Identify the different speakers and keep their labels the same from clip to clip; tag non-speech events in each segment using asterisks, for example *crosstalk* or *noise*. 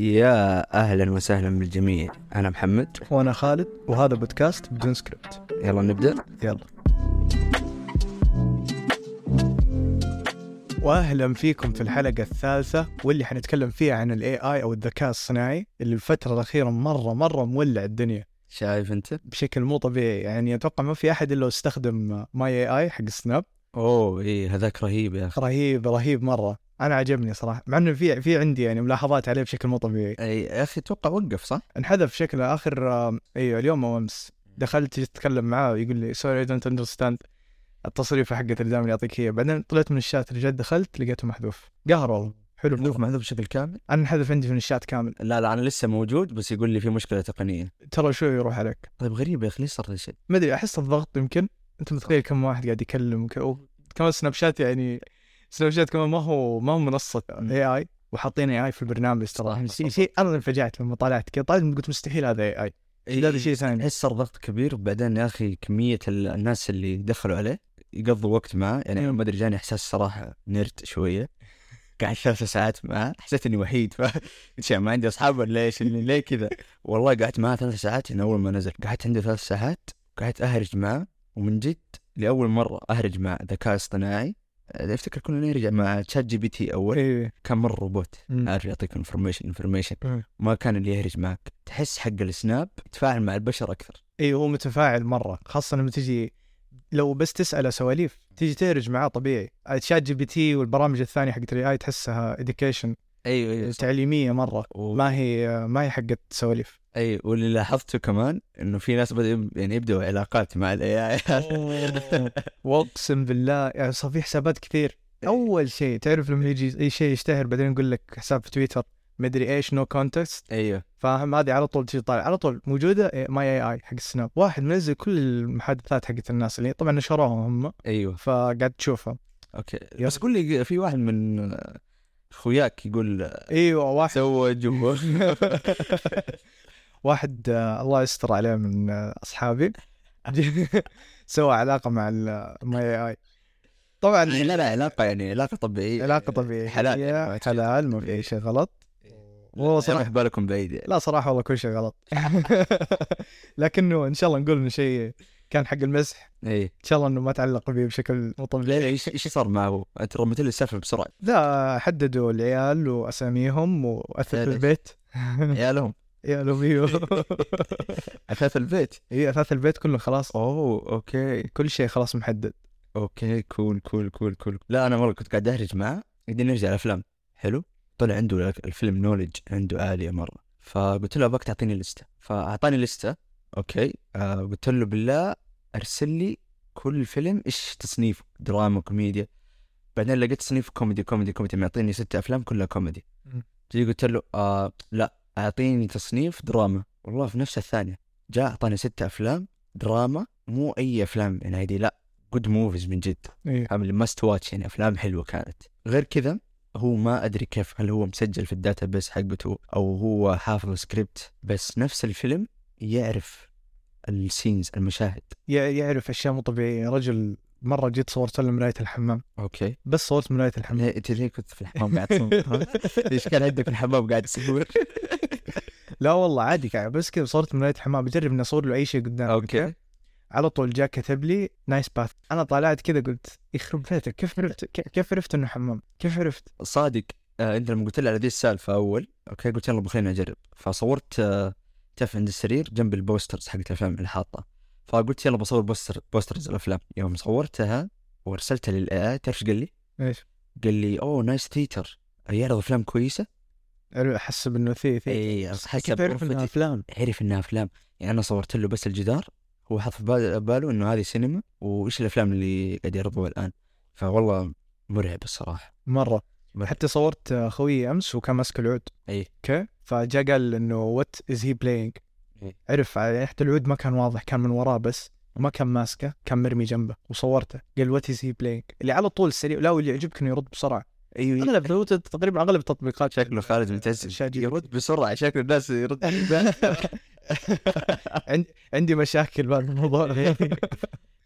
Speaker 1: يا اهلا وسهلا بالجميع انا محمد
Speaker 2: وانا خالد وهذا بودكاست بدون سكريبت
Speaker 1: يلا نبدا
Speaker 2: يلا واهلا فيكم في الحلقه الثالثه واللي حنتكلم فيها عن الاي اي او الذكاء الصناعي اللي الفتره الاخيره مره مره مولع الدنيا
Speaker 1: شايف انت
Speaker 2: بشكل مو طبيعي يعني اتوقع ما في احد الا استخدم ماي اي اي حق سناب
Speaker 1: اوه اي إيه، هذاك رهيب يا اخي
Speaker 2: رهيب رهيب مره انا عجبني صراحه مع انه في في عندي يعني ملاحظات عليه بشكل مو طبيعي
Speaker 1: اي يا اخي اتوقع وقف صح
Speaker 2: انحذف شكله اخر آم، ايوه اليوم او امس دخلت جيت اتكلم معاه يقول لي سوري اي دونت اندرستاند التصريفه حقت اللي دائما يعطيك هي بعدين طلعت من الشات رجعت دخلت لقيته محذوف قهر والله حلو
Speaker 1: محذوف
Speaker 2: مرة.
Speaker 1: محذوف بشكل كامل
Speaker 2: انا انحذف عندي من الشات كامل
Speaker 1: لا لا انا لسه موجود بس يقول لي في مشكله تقنيه
Speaker 2: ترى شو يروح عليك
Speaker 1: طيب غريب يا اخي ليش صار هالشيء
Speaker 2: ما ادري احس الضغط يمكن انت متخيل كم واحد قاعد يكلم وك- و- كمان سناب شات يعني سناب شات كمان ما هو ما هو منصه اي اي وحاطين اي اي في البرنامج
Speaker 1: صح، إيه،
Speaker 2: صراحه شيء
Speaker 1: بالضبط.
Speaker 2: شيء انا انفجعت لما طلعت كذا طلعت قلت مستحيل هذا اي اي هذا شيء ثاني
Speaker 1: احس صار ضغط كبير وبعدين يا اخي كميه ال- الناس اللي دخلوا عليه يقضوا وقت معاه يعني
Speaker 2: مم.
Speaker 1: ما ادري جاني احساس صراحه نرد شويه قاعد ثلاث ساعات معاه حسيت اني وحيد *laughs* ف إيش يعني ما عندي اصحاب ولا ايش اللي- ليه كذا والله قعدت معاه ثلاث ساعات من اول ما نزل قعدت عنده ثلاث ساعات قعدت اهرج معاه ومن جد لاول مره اهرج مع ذكاء اصطناعي افتكر كنا نرجع مع تشات جي بي تي اول
Speaker 2: ايه
Speaker 1: كان مره روبوت
Speaker 2: مم.
Speaker 1: عارف يعطيك انفورميشن انفورميشن
Speaker 2: مم.
Speaker 1: ما كان اللي يهرج معك تحس حق السناب تفاعل مع البشر اكثر
Speaker 2: اي إيه، هو متفاعل مره خاصه لما تجي لو بس تساله سواليف تجي تهرج معاه طبيعي تشات جي بي تي والبرامج الثانيه حقت الاي اي تحسها اديوكيشن
Speaker 1: ايوه ايوه
Speaker 2: تعليميه مره
Speaker 1: و...
Speaker 2: ما هي ما هي حقت سواليف
Speaker 1: اي واللي لاحظته كمان انه في ناس بدأوا يب- يعني يبدأوا علاقات مع الاي اي *laughs*
Speaker 2: واقسم بالله يعني صار في حسابات كثير
Speaker 1: أيوة.
Speaker 2: اول شيء تعرف لما يجي اي شيء يشتهر بعدين يقول لك حساب في تويتر مدري ايش نو كونتكست
Speaker 1: ايوه
Speaker 2: فاهم هذه على طول تجي طالع على طول إيه، موجوده ماي اي اي حق السناب واحد منزل كل المحادثات حقت الناس اللي طبعا نشروها هم
Speaker 1: ايوه
Speaker 2: فقاعد تشوفها
Speaker 1: اوكي
Speaker 2: يلا.
Speaker 1: بس قول لي في واحد من اخوياك يقول
Speaker 2: ايوه واحد
Speaker 1: تزوج و...
Speaker 2: واحد آه، الله يستر عليه من آه، اصحابي *laughs* سوى علاقه مع الماي اي طبعا
Speaker 1: *laughs* يعني لا لا علاقة يعني علاقة طبيعية
Speaker 2: علاقه طبيعيه
Speaker 1: حلال
Speaker 2: هي
Speaker 1: يعني، ما في شيء.
Speaker 2: حلال ما في اي شيء غلط والله
Speaker 1: والله
Speaker 2: صراحه
Speaker 1: صراحة بالكم بعيد يعني.
Speaker 2: لا صراحه والله كل شيء غلط *laughs* لكنه ان شاء الله نقول انه شيء كان حق المزح
Speaker 1: اي
Speaker 2: ان شاء الله انه ما تعلق به بشكل مو طبيعي
Speaker 1: لا لا ايش ايش إيه. صار معه هو؟ انت رميت لي السالفة بسرعة
Speaker 2: لا حددوا العيال واساميهم واثاث
Speaker 1: ثالث.
Speaker 2: البيت *laughs*
Speaker 1: عيالهم
Speaker 2: عيالهم *laughs* ايوه
Speaker 1: اثاث البيت
Speaker 2: هي اثاث البيت كله خلاص
Speaker 1: اوه اوكي
Speaker 2: كل شيء خلاص محدد
Speaker 1: اوكي كول كول كول كول لا انا مره كنت قاعد اهرج معه قاعدين نرجع الافلام حلو طلع عنده الفيلم نولج عنده عاليه مره فقلت له ابغاك تعطيني لسته فاعطاني لسته اوكي آه قلت له بالله ارسل لي كل فيلم ايش تصنيفه دراما كوميديا بعدين لقيت تصنيف كوميدي كوميدي كوميدي معطيني ست افلام كلها كوميدي
Speaker 2: مم.
Speaker 1: جي قلت له آه لا اعطيني تصنيف دراما والله في نفس الثانيه جاء اعطاني ست افلام دراما مو اي افلام يعني هذه لا جود موفيز من جد
Speaker 2: ايوه
Speaker 1: عامل ماست واتش يعني افلام حلوه كانت غير كذا هو ما ادري كيف هل هو مسجل في الداتا بيس حقته او هو حافظ سكريبت بس نفس الفيلم يعرف السينز المشاهد
Speaker 2: يع- يعرف اشياء مو طبيعيه رجل مره جيت صورت له مرايه الحمام
Speaker 1: اوكي
Speaker 2: بس صورت مرايه
Speaker 1: *laughs*
Speaker 2: الحمام
Speaker 1: ليه انت ليه كنت في الحمام قاعد تصور؟ ايش كان عندك في الحمام قاعد تصور؟
Speaker 2: لا والله عادي كعب بس كذا صورت مرايه الحمام بجرب اني اصور له اي شيء قدام
Speaker 1: اوكي
Speaker 2: على طول جاء كتب لي نايس باث انا طلعت كذا قلت يخرب بيتك كيف عرفت كيف- كيف عرفت انه حمام كيف عرفت
Speaker 1: صادق آه انت لما قلت لي على ذي السالفه اول اوكي قلت يلا خليني اجرب فصورت آه تعرف عند السرير جنب البوسترز حقت الافلام اللي حاطه فقلت يلا بصور بوستر بوسترز الافلام يوم صورتها وارسلتها للاي اي تعرف إيش قال لي؟
Speaker 2: ايش
Speaker 1: قال لي اوه نايس ثيتر يعرض افلام كويسه؟
Speaker 2: احسب انه ثي ثي
Speaker 1: اي
Speaker 2: كيف
Speaker 1: إيه، حسب
Speaker 2: عرف انها
Speaker 1: غرفتي
Speaker 2: افلام
Speaker 1: عرف انها افلام يعني انا صورت له بس الجدار هو حط في بال- باله انه هذه سينما وايش الافلام اللي قاعد يعرضوها الان فوالله مرعب الصراحه
Speaker 2: مره
Speaker 1: مرة.
Speaker 2: حتى صورت اخوي امس وكان ماسك العود
Speaker 1: اي
Speaker 2: اوكي فجاء قال انه وات از هي بلاينج
Speaker 1: إيه.
Speaker 2: عرف يعني حتى العود ما كان واضح كان من وراه بس ما كان ماسكه كان مرمي جنبه وصورته قال وات از هي بلاينج اللي على طول سريع لا واللي يعجبك انه يرد بسرعه
Speaker 1: ايوه
Speaker 2: اغلب هو تقريبا اغلب التطبيقات
Speaker 1: شكله خالد متعسف
Speaker 2: شات جي بي
Speaker 1: يرد بسرعه شكله الناس يرد
Speaker 2: *laughs* عند- عندي مشاكل بعد
Speaker 1: *laughs*
Speaker 2: الموضوع
Speaker 1: إيه.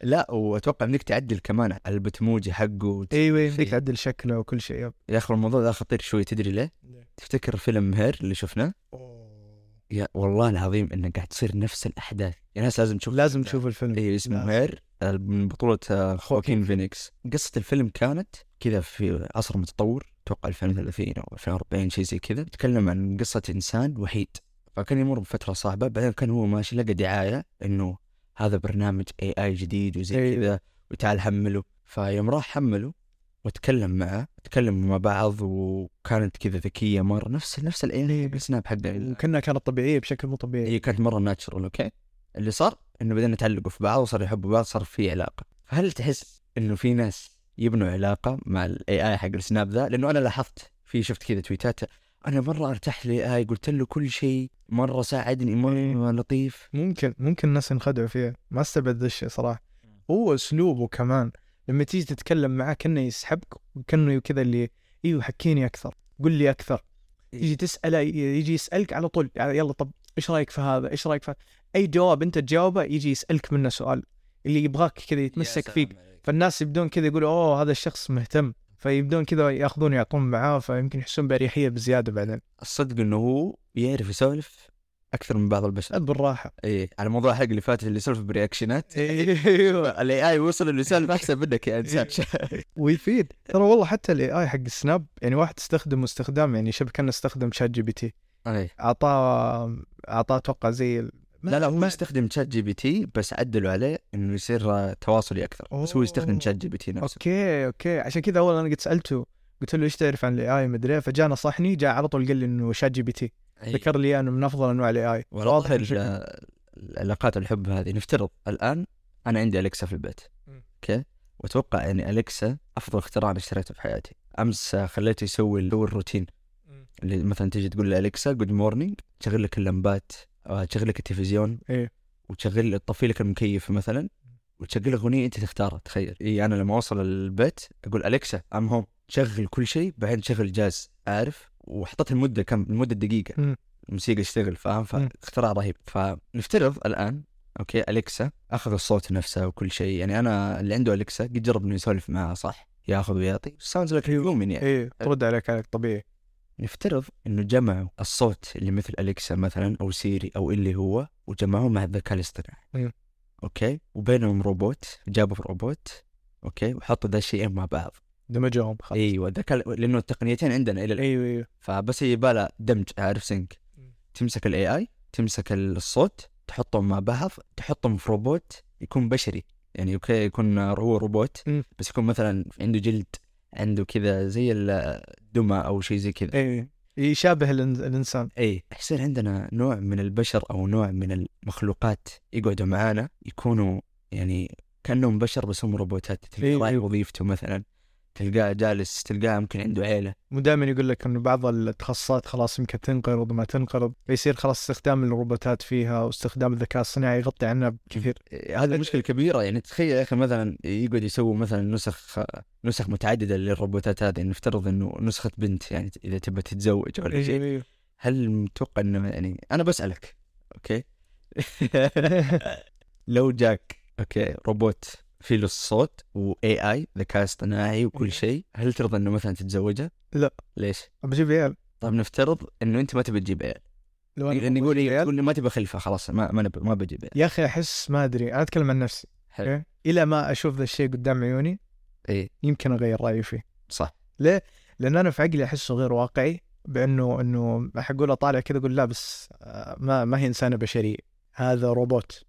Speaker 1: لا واتوقع انك تعدل كمان على البتموجي حقه إيه.
Speaker 2: ايوه يمديك تعدل إيه، شكله وكل شيء يب.
Speaker 1: يا اخي الموضوع ده خطير شوي تدري ليه؟ تفتكر فيلم هير اللي شفناه يا والله العظيم انك قاعد تصير نفس الاحداث يا ناس لازم تشوف
Speaker 2: لازم تشوف الفيلم نعم.
Speaker 1: اي اسمه
Speaker 2: لازم.
Speaker 1: هير آه، من بطولة آه،
Speaker 2: خواكين
Speaker 1: خواكين فينيكس قصة الفيلم كانت كذا في عصر متطور اتوقع 2030 او 2040 شيء زي كذا تتكلم عن قصة انسان وحيد فكان يمر بفترة صعبة بعدين كان هو ماشي لقى دعاية انه هذا برنامج اي اي جديد وزي
Speaker 2: إي.
Speaker 1: كذا وتعال حمله فيوم راح حمله وتكلم معه تكلم مع بعض وكانت كذا ذكية مرة نفس نفس
Speaker 2: إيه.
Speaker 1: الاي السناب حقه
Speaker 2: وكانها كانت طبيعيه بشكل مو طبيعي
Speaker 1: هي كانت مره ناتشرال اوكي اللي صار انه بدنا نتعلقوا في بعض وصار يحبوا بعض صار في علاقه فهل تحس انه في ناس يبنوا علاقه مع الاي اي حق السناب ذا لانه انا لاحظت في شفت كذا تويتات انا مره ارتحت للاي اي قلت له كل شيء مره ساعدني مره لطيف
Speaker 2: ممكن ممكن الناس ينخدعوا فيها ما استبعد ذا الشيء صراحه هو اسلوبه كمان لما تيجي تتكلم معاه كانه يسحبك وكانه كذا اللي ايوه حكيني اكثر قل لي اكثر يجي تساله يجي يسالك على طول يعني يلا طب ايش رايك في هذا؟ ايش رايك في اي جواب انت تجاوبه يجي يسالك منه سؤال اللي يبغاك كذا يتمسك فيك فالناس يبدون كذا يقولوا اوه هذا الشخص مهتم فيبدون كذا ياخذون يعطون معاه فيمكن يحسون باريحيه بزياده بعدين
Speaker 1: الصدق انه هو يعرف يسولف اكثر من بعض البشر
Speaker 2: بالراحه
Speaker 1: اي على موضوع الحلقه اللي فاتت اللي سولف برياكشنات
Speaker 2: ايوه
Speaker 1: الاي اي وصل انه يسولف احسن منك يا انسان *laughs*
Speaker 2: ويفيد ترى والله حتى الاي اي حق السناب يعني واحد استخدمه استخدام يعني شبه كان استخدم شات جي بي تي
Speaker 1: إي.
Speaker 2: اعطاه اعطاه اتوقع زي ال- ما-
Speaker 1: لا لا هو
Speaker 2: ما-
Speaker 1: يستخدم تشات جي بي تي بس عدلوا عليه انه يصير آه، تواصلي اكثر بس هو يستخدم
Speaker 2: أوه.
Speaker 1: تشات جي بي تي نفسه
Speaker 2: اوكي اوكي عشان كذا اول انا قد سالته قلت له ايش تعرف عن الاي اي مدري إيه، فجاء نصحني جاء على طول قال لي انه شات جي بي تي
Speaker 1: أي.
Speaker 2: ذكر لي إياه انه من افضل انواع الاي اي
Speaker 1: والله
Speaker 2: بشكل-
Speaker 1: ال- العلاقات الحب هذه نفترض الان انا عندي اليكسا في البيت
Speaker 2: مم.
Speaker 1: اوكي واتوقع يعني اليكسا افضل اختراع انا اشتريته في حياتي امس آه، خليته يسوي يسوي الروتين اللي مثلا تجي تقول لاليكسا جود مورنينج تشغل لك اللمبات آه، تشغل لك التلفزيون
Speaker 2: إيه.
Speaker 1: وتشغل تطفي لك المكيف مثلا وتشغل اغنيه انت تختارها تخيل اي انا لما اوصل البيت اقول اليكسا ام هوم شغل كل شيء بعدين تشغل جاز عارف وحطيت المده كم المده دقيقه
Speaker 2: مم.
Speaker 1: الموسيقى تشتغل فاهم
Speaker 2: مم.
Speaker 1: فاختراع رهيب فنفترض الان اوكي اليكسا اخذ الصوت نفسه وكل شيء يعني انا اللي عنده اليكسا قد جرب انه يسولف معها صح ياخذ ويعطي ساوندز لك هيومن يعني
Speaker 2: ايه ترد عليك عليك طبيعي
Speaker 1: نفترض انه جمعوا الصوت اللي مثل اليكسا مثلا او سيري او اللي هو وجمعوه مع الذكاء الاصطناعي
Speaker 2: أيوه.
Speaker 1: اوكي وبينهم روبوت جابوا في روبوت اوكي وحطوا ذا الشيئين مع بعض
Speaker 2: دمجهم خلاص
Speaker 1: ايوه الذكاء لانه التقنيتين عندنا الى الان
Speaker 2: ايوه ايوه
Speaker 1: فبس يبالها دمج عارف سينك
Speaker 2: مم.
Speaker 1: تمسك الاي اي تمسك ال- الصوت تحطهم مع بعض تحطهم في روبوت يكون بشري يعني اوكي يكون هو روبوت
Speaker 2: مم.
Speaker 1: بس يكون مثلا عنده جلد عنده كذا زي الدمى او شيء زي كذا
Speaker 2: ايوه يشابه الإن- الانسان
Speaker 1: اي يصير إيه. عندنا نوع من البشر او نوع من المخلوقات يقعدوا معانا يكونوا يعني كانهم بشر بس هم روبوتات تلقى
Speaker 2: إيه.
Speaker 1: راعي وظيفته مثلا تلقاه جالس تلقاه يمكن عنده عيله
Speaker 2: ودائما يقول لك انه بعض التخصصات خلاص يمكن تنقرض وما تنقرض فيصير خلاص استخدام الروبوتات فيها واستخدام الذكاء الصناعي يغطي عنها كثير
Speaker 1: إيه، هذه مشكله كبيره يعني تخيل يا اخي مثلا يقعد يسوي مثلا نسخ نسخ متعدده للروبوتات هذه نفترض انه نسخه بنت يعني اذا تبى تتزوج
Speaker 2: إيه،
Speaker 1: ولا شيء هل متوقع انه يعني انا بسالك
Speaker 2: *laughs*
Speaker 1: اوكي لو جاك اوكي روبوت في له الصوت واي اي ذكاء اصطناعي وكل شيء هل ترضى انه مثلا تتزوجه؟
Speaker 2: إيه. لا.
Speaker 1: ليش؟
Speaker 2: بجيب عيال
Speaker 1: طيب نفترض انه انت ما تبي تجيب عيال
Speaker 2: لو أنا
Speaker 1: لان يقول
Speaker 2: بجيب
Speaker 1: إيه
Speaker 2: عيال-
Speaker 1: تقول لي ما تبي خلفه خلاص ما ما, نب... ما بجيب عيال
Speaker 2: يا اخي احس ما ادري انا اتكلم عن نفسي
Speaker 1: حلو.
Speaker 2: أوكي؟ الى ما اشوف ذا الشيء قدام عيوني
Speaker 1: إيه.
Speaker 2: يمكن اغير رايي فيه
Speaker 1: صح
Speaker 2: لان انا في عقلي احسه غير واقعي بانه انه حقول اطالع كذا اقول لا بس آه، ما ما هي انسانه بشريه هذا روبوت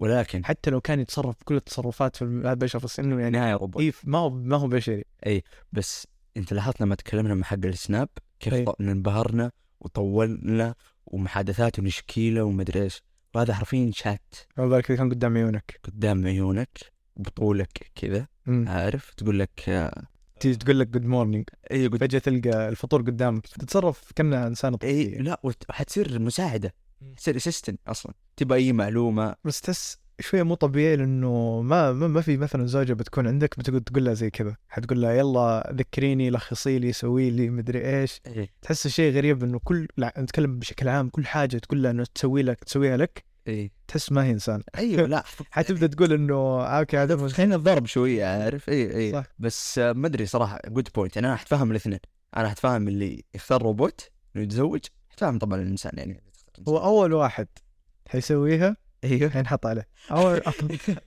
Speaker 1: ولكن
Speaker 2: حتى لو كان يتصرف كل التصرفات في البشر بس انه
Speaker 1: *laughs*
Speaker 2: يعني
Speaker 1: نهايه روبوت
Speaker 2: إيه ما هو ما هو بشري
Speaker 1: بس انت لاحظت لما تكلمنا مع حق السناب كيف
Speaker 2: طيب.
Speaker 1: طيب. انبهرنا وطولنا ومحادثات ونشكيله ومدري ايش وهذا حرفيا شات
Speaker 2: على بالك إذا كان قدام عيونك
Speaker 1: قدام عيونك بطولك كذا
Speaker 2: أمم.
Speaker 1: عارف تقول لك "إيه، آه،
Speaker 2: تيجي تقول لك جود مورنينج
Speaker 1: اي قلت
Speaker 2: فجاه تلقى الفطور قدامك تتصرف كانها انسان
Speaker 1: اي
Speaker 2: طبيعي
Speaker 1: إيه، لا وت- حتصير مساعده
Speaker 2: إيه. مم.
Speaker 1: حتصير اسيستنت اصلا تبى اي معلومه
Speaker 2: بس تحس شويه مو طبيعي لانه ما ما ما في مثلا زوجه بتكون عندك بتقول تقول لها زي كذا حتقول لها يلا ذكريني لخصي لي سوي لي مدري ايش
Speaker 1: اي
Speaker 2: تحس شيء غريب انه كل لا نتكلم بشكل عام كل حاجه تقول لها انه تسوي لك تسويها لك
Speaker 1: اي
Speaker 2: تحس ما هي انسان
Speaker 1: ايوه
Speaker 2: *laughs*
Speaker 1: لا
Speaker 2: حتبدا تقول انه آه، اوكي هذا مش-
Speaker 1: خلينا نضرب شويه عارف إيه، اي اي
Speaker 2: صح.
Speaker 1: بس آه، ما ادري صراحه جود بوينت انا حتفهم الاثنين انا حتفهم اللي يختار روبوت انه يتزوج احترام طبعا الانسان يعني
Speaker 2: هو
Speaker 1: *laughs*
Speaker 2: اول واحد حيسويها
Speaker 1: ايوه
Speaker 2: حينحط عليه اول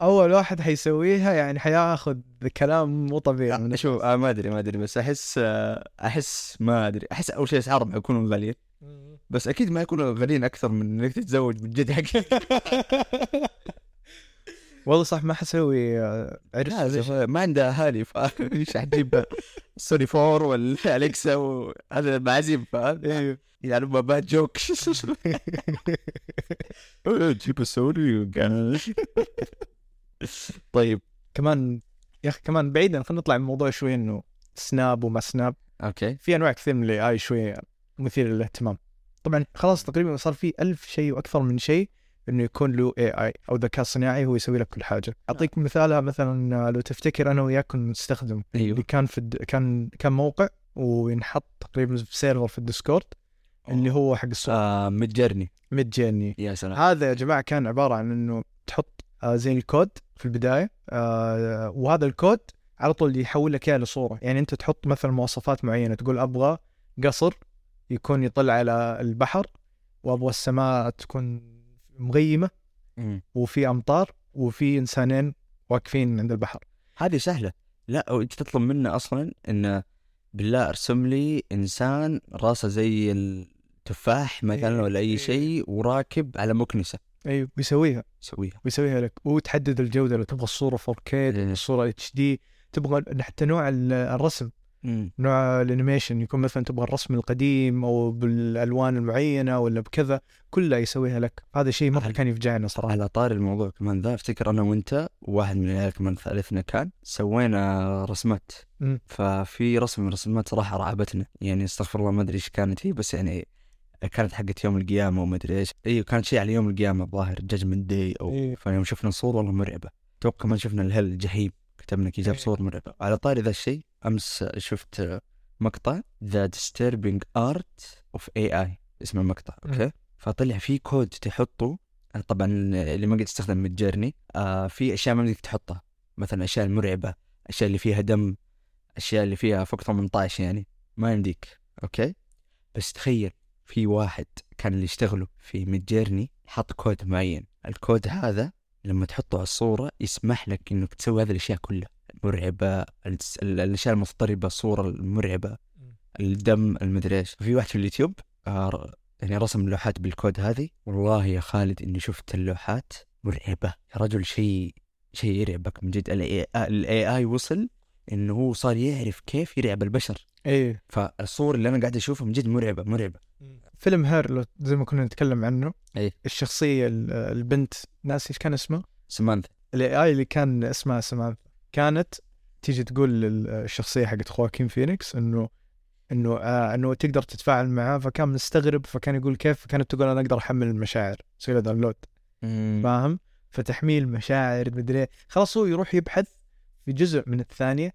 Speaker 2: اول واحد حيسويها يعني حياخذ كلام مو طبيعي من
Speaker 1: شوف آه ما ادري ما ادري بس احس آه احس ما ادري احس اول شيء اسعارهم حيكونوا غاليين بس اكيد ما يكونوا غاليين اكثر من انك تتزوج بالجد حق
Speaker 2: والله صح ما حسوي آه، عرس
Speaker 1: لا، زي- ما عنده اهالي *laughs* فايش حتجيب سوني 4 والاليكسا وهذا المعازيم فاهم يعني ما باد *laughs* جوك جيب سوني *laughs* طيب
Speaker 2: كمان يا اخي كمان بعيدا خلينا نطلع من الموضوع شوي انه سناب وما سناب
Speaker 1: اوكي
Speaker 2: في انواع كثير من الاي اي شوي مثير للاهتمام طبعا خلاص تقريبا صار في ألف شيء واكثر من شيء انه يكون له اي اي او ذكاء صناعي هو يسوي لك كل
Speaker 1: نعم.
Speaker 2: حاجه اعطيك مثالها مثلا آه، لو تفتكر انا وياك كنا نستخدم اللي
Speaker 1: ايوه
Speaker 2: كان في الد... كان كان موقع وينحط تقريبا في سيرفر في الديسكورد اللي هو حق الصوت
Speaker 1: آه نعم. متجرني
Speaker 2: مجاني
Speaker 1: يا سلام
Speaker 2: هذا يا جماعه كان عباره عن انه تحط آه، زي الكود في البدايه آه، وهذا الكود على طول يحول لك اياه لصوره يعني انت تحط مثلا مواصفات معينه تقول ابغى قصر يكون يطل على البحر وابغى السماء تكون مغيمه
Speaker 1: مم.
Speaker 2: وفي امطار وفي انسانين واقفين عند البحر
Speaker 1: هذه سهله لا أو انت تطلب منه اصلا انه بالله ارسم لي انسان راسه زي التفاح مثلا
Speaker 2: إيه،
Speaker 1: ولا
Speaker 2: إيه.
Speaker 1: اي شيء وراكب على مكنسه
Speaker 2: ايوه ويسويها
Speaker 1: سويها
Speaker 2: ويسويها لك وتحدد الجوده لو تبغى الصوره 4K تبغى
Speaker 1: إيه.
Speaker 2: الصوره اتش دي تبغى حتى نوع ال- الرسم نوع الانيميشن يكون مثلا تبغى الرسم القديم او بالالوان المعينه ولا بكذا كلها يسويها لك هذا شيء مره
Speaker 1: هل-
Speaker 2: كان يفجعنا صراحه
Speaker 1: على طار الموضوع كمان ذا افتكر انا وانت وواحد من العيال كمان ثالثنا كان سوينا رسمات
Speaker 2: مم.
Speaker 1: ففي رسم من الرسمات صراحه رعبتنا يعني استغفر الله ما ادري ايش كانت هي بس يعني كانت حقت يوم القيامه وما ادري ايش ايوه كانت شيء على يوم القيامه الظاهر جادجمنت داي او
Speaker 2: إيه.
Speaker 1: فيوم شفنا صور والله مرعبه اتوقع كمان شفنا الهل الجحيم كتبنا كي جاب
Speaker 2: إيه.
Speaker 1: صور مرعبه على طاري ذا الشيء امس شفت مقطع ذا disturbing art of AI اسم المقطع
Speaker 2: مم.
Speaker 1: اوكي فطلع في كود تحطه طبعا اللي ما قد استخدم متجرني آه في اشياء ما بدك تحطها مثلا اشياء المرعبه اشياء اللي فيها دم اشياء اللي فيها فوق 18 يعني ما يمديك اوكي بس تخيل في واحد كان اللي يشتغله في متجرني حط كود معين الكود هذا لما تحطه على الصوره يسمح لك انك تسوي هذه الاشياء كلها المرعبه الس- ال- الاشياء المضطربه الصوره المرعبه الدم المدري ايش في واحد في اليوتيوب آه، ر- يعني رسم لوحات بالكود هذه والله يا خالد اني شفت اللوحات مرعبه يا رجل شيء شيء يرعبك من جد الاي اي وصل انه هو صار يعرف كيف يرعب البشر إيه.
Speaker 2: ايه
Speaker 1: فالصور اللي انا قاعد اشوفها من جد مرعبه مرعبه
Speaker 2: إيه. فيلم هيرلو زي ما كنا نتكلم عنه
Speaker 1: إيه.
Speaker 2: الشخصيه ال- البنت ناسي ايش كان اسمه
Speaker 1: سمانثا
Speaker 2: الاي اي اللي كان اسمها سماث كانت تيجي تقول للشخصيه حقت خواكين فينيكس انه انه آه انه تقدر تتفاعل معاه فكان مستغرب فكان يقول كيف فكانت تقول انا اقدر احمل المشاعر اسوي له داونلود
Speaker 1: ما-
Speaker 2: فاهم فتحميل مشاعر مدري إيه. خلاص هو يروح يبحث في جزء من الثانيه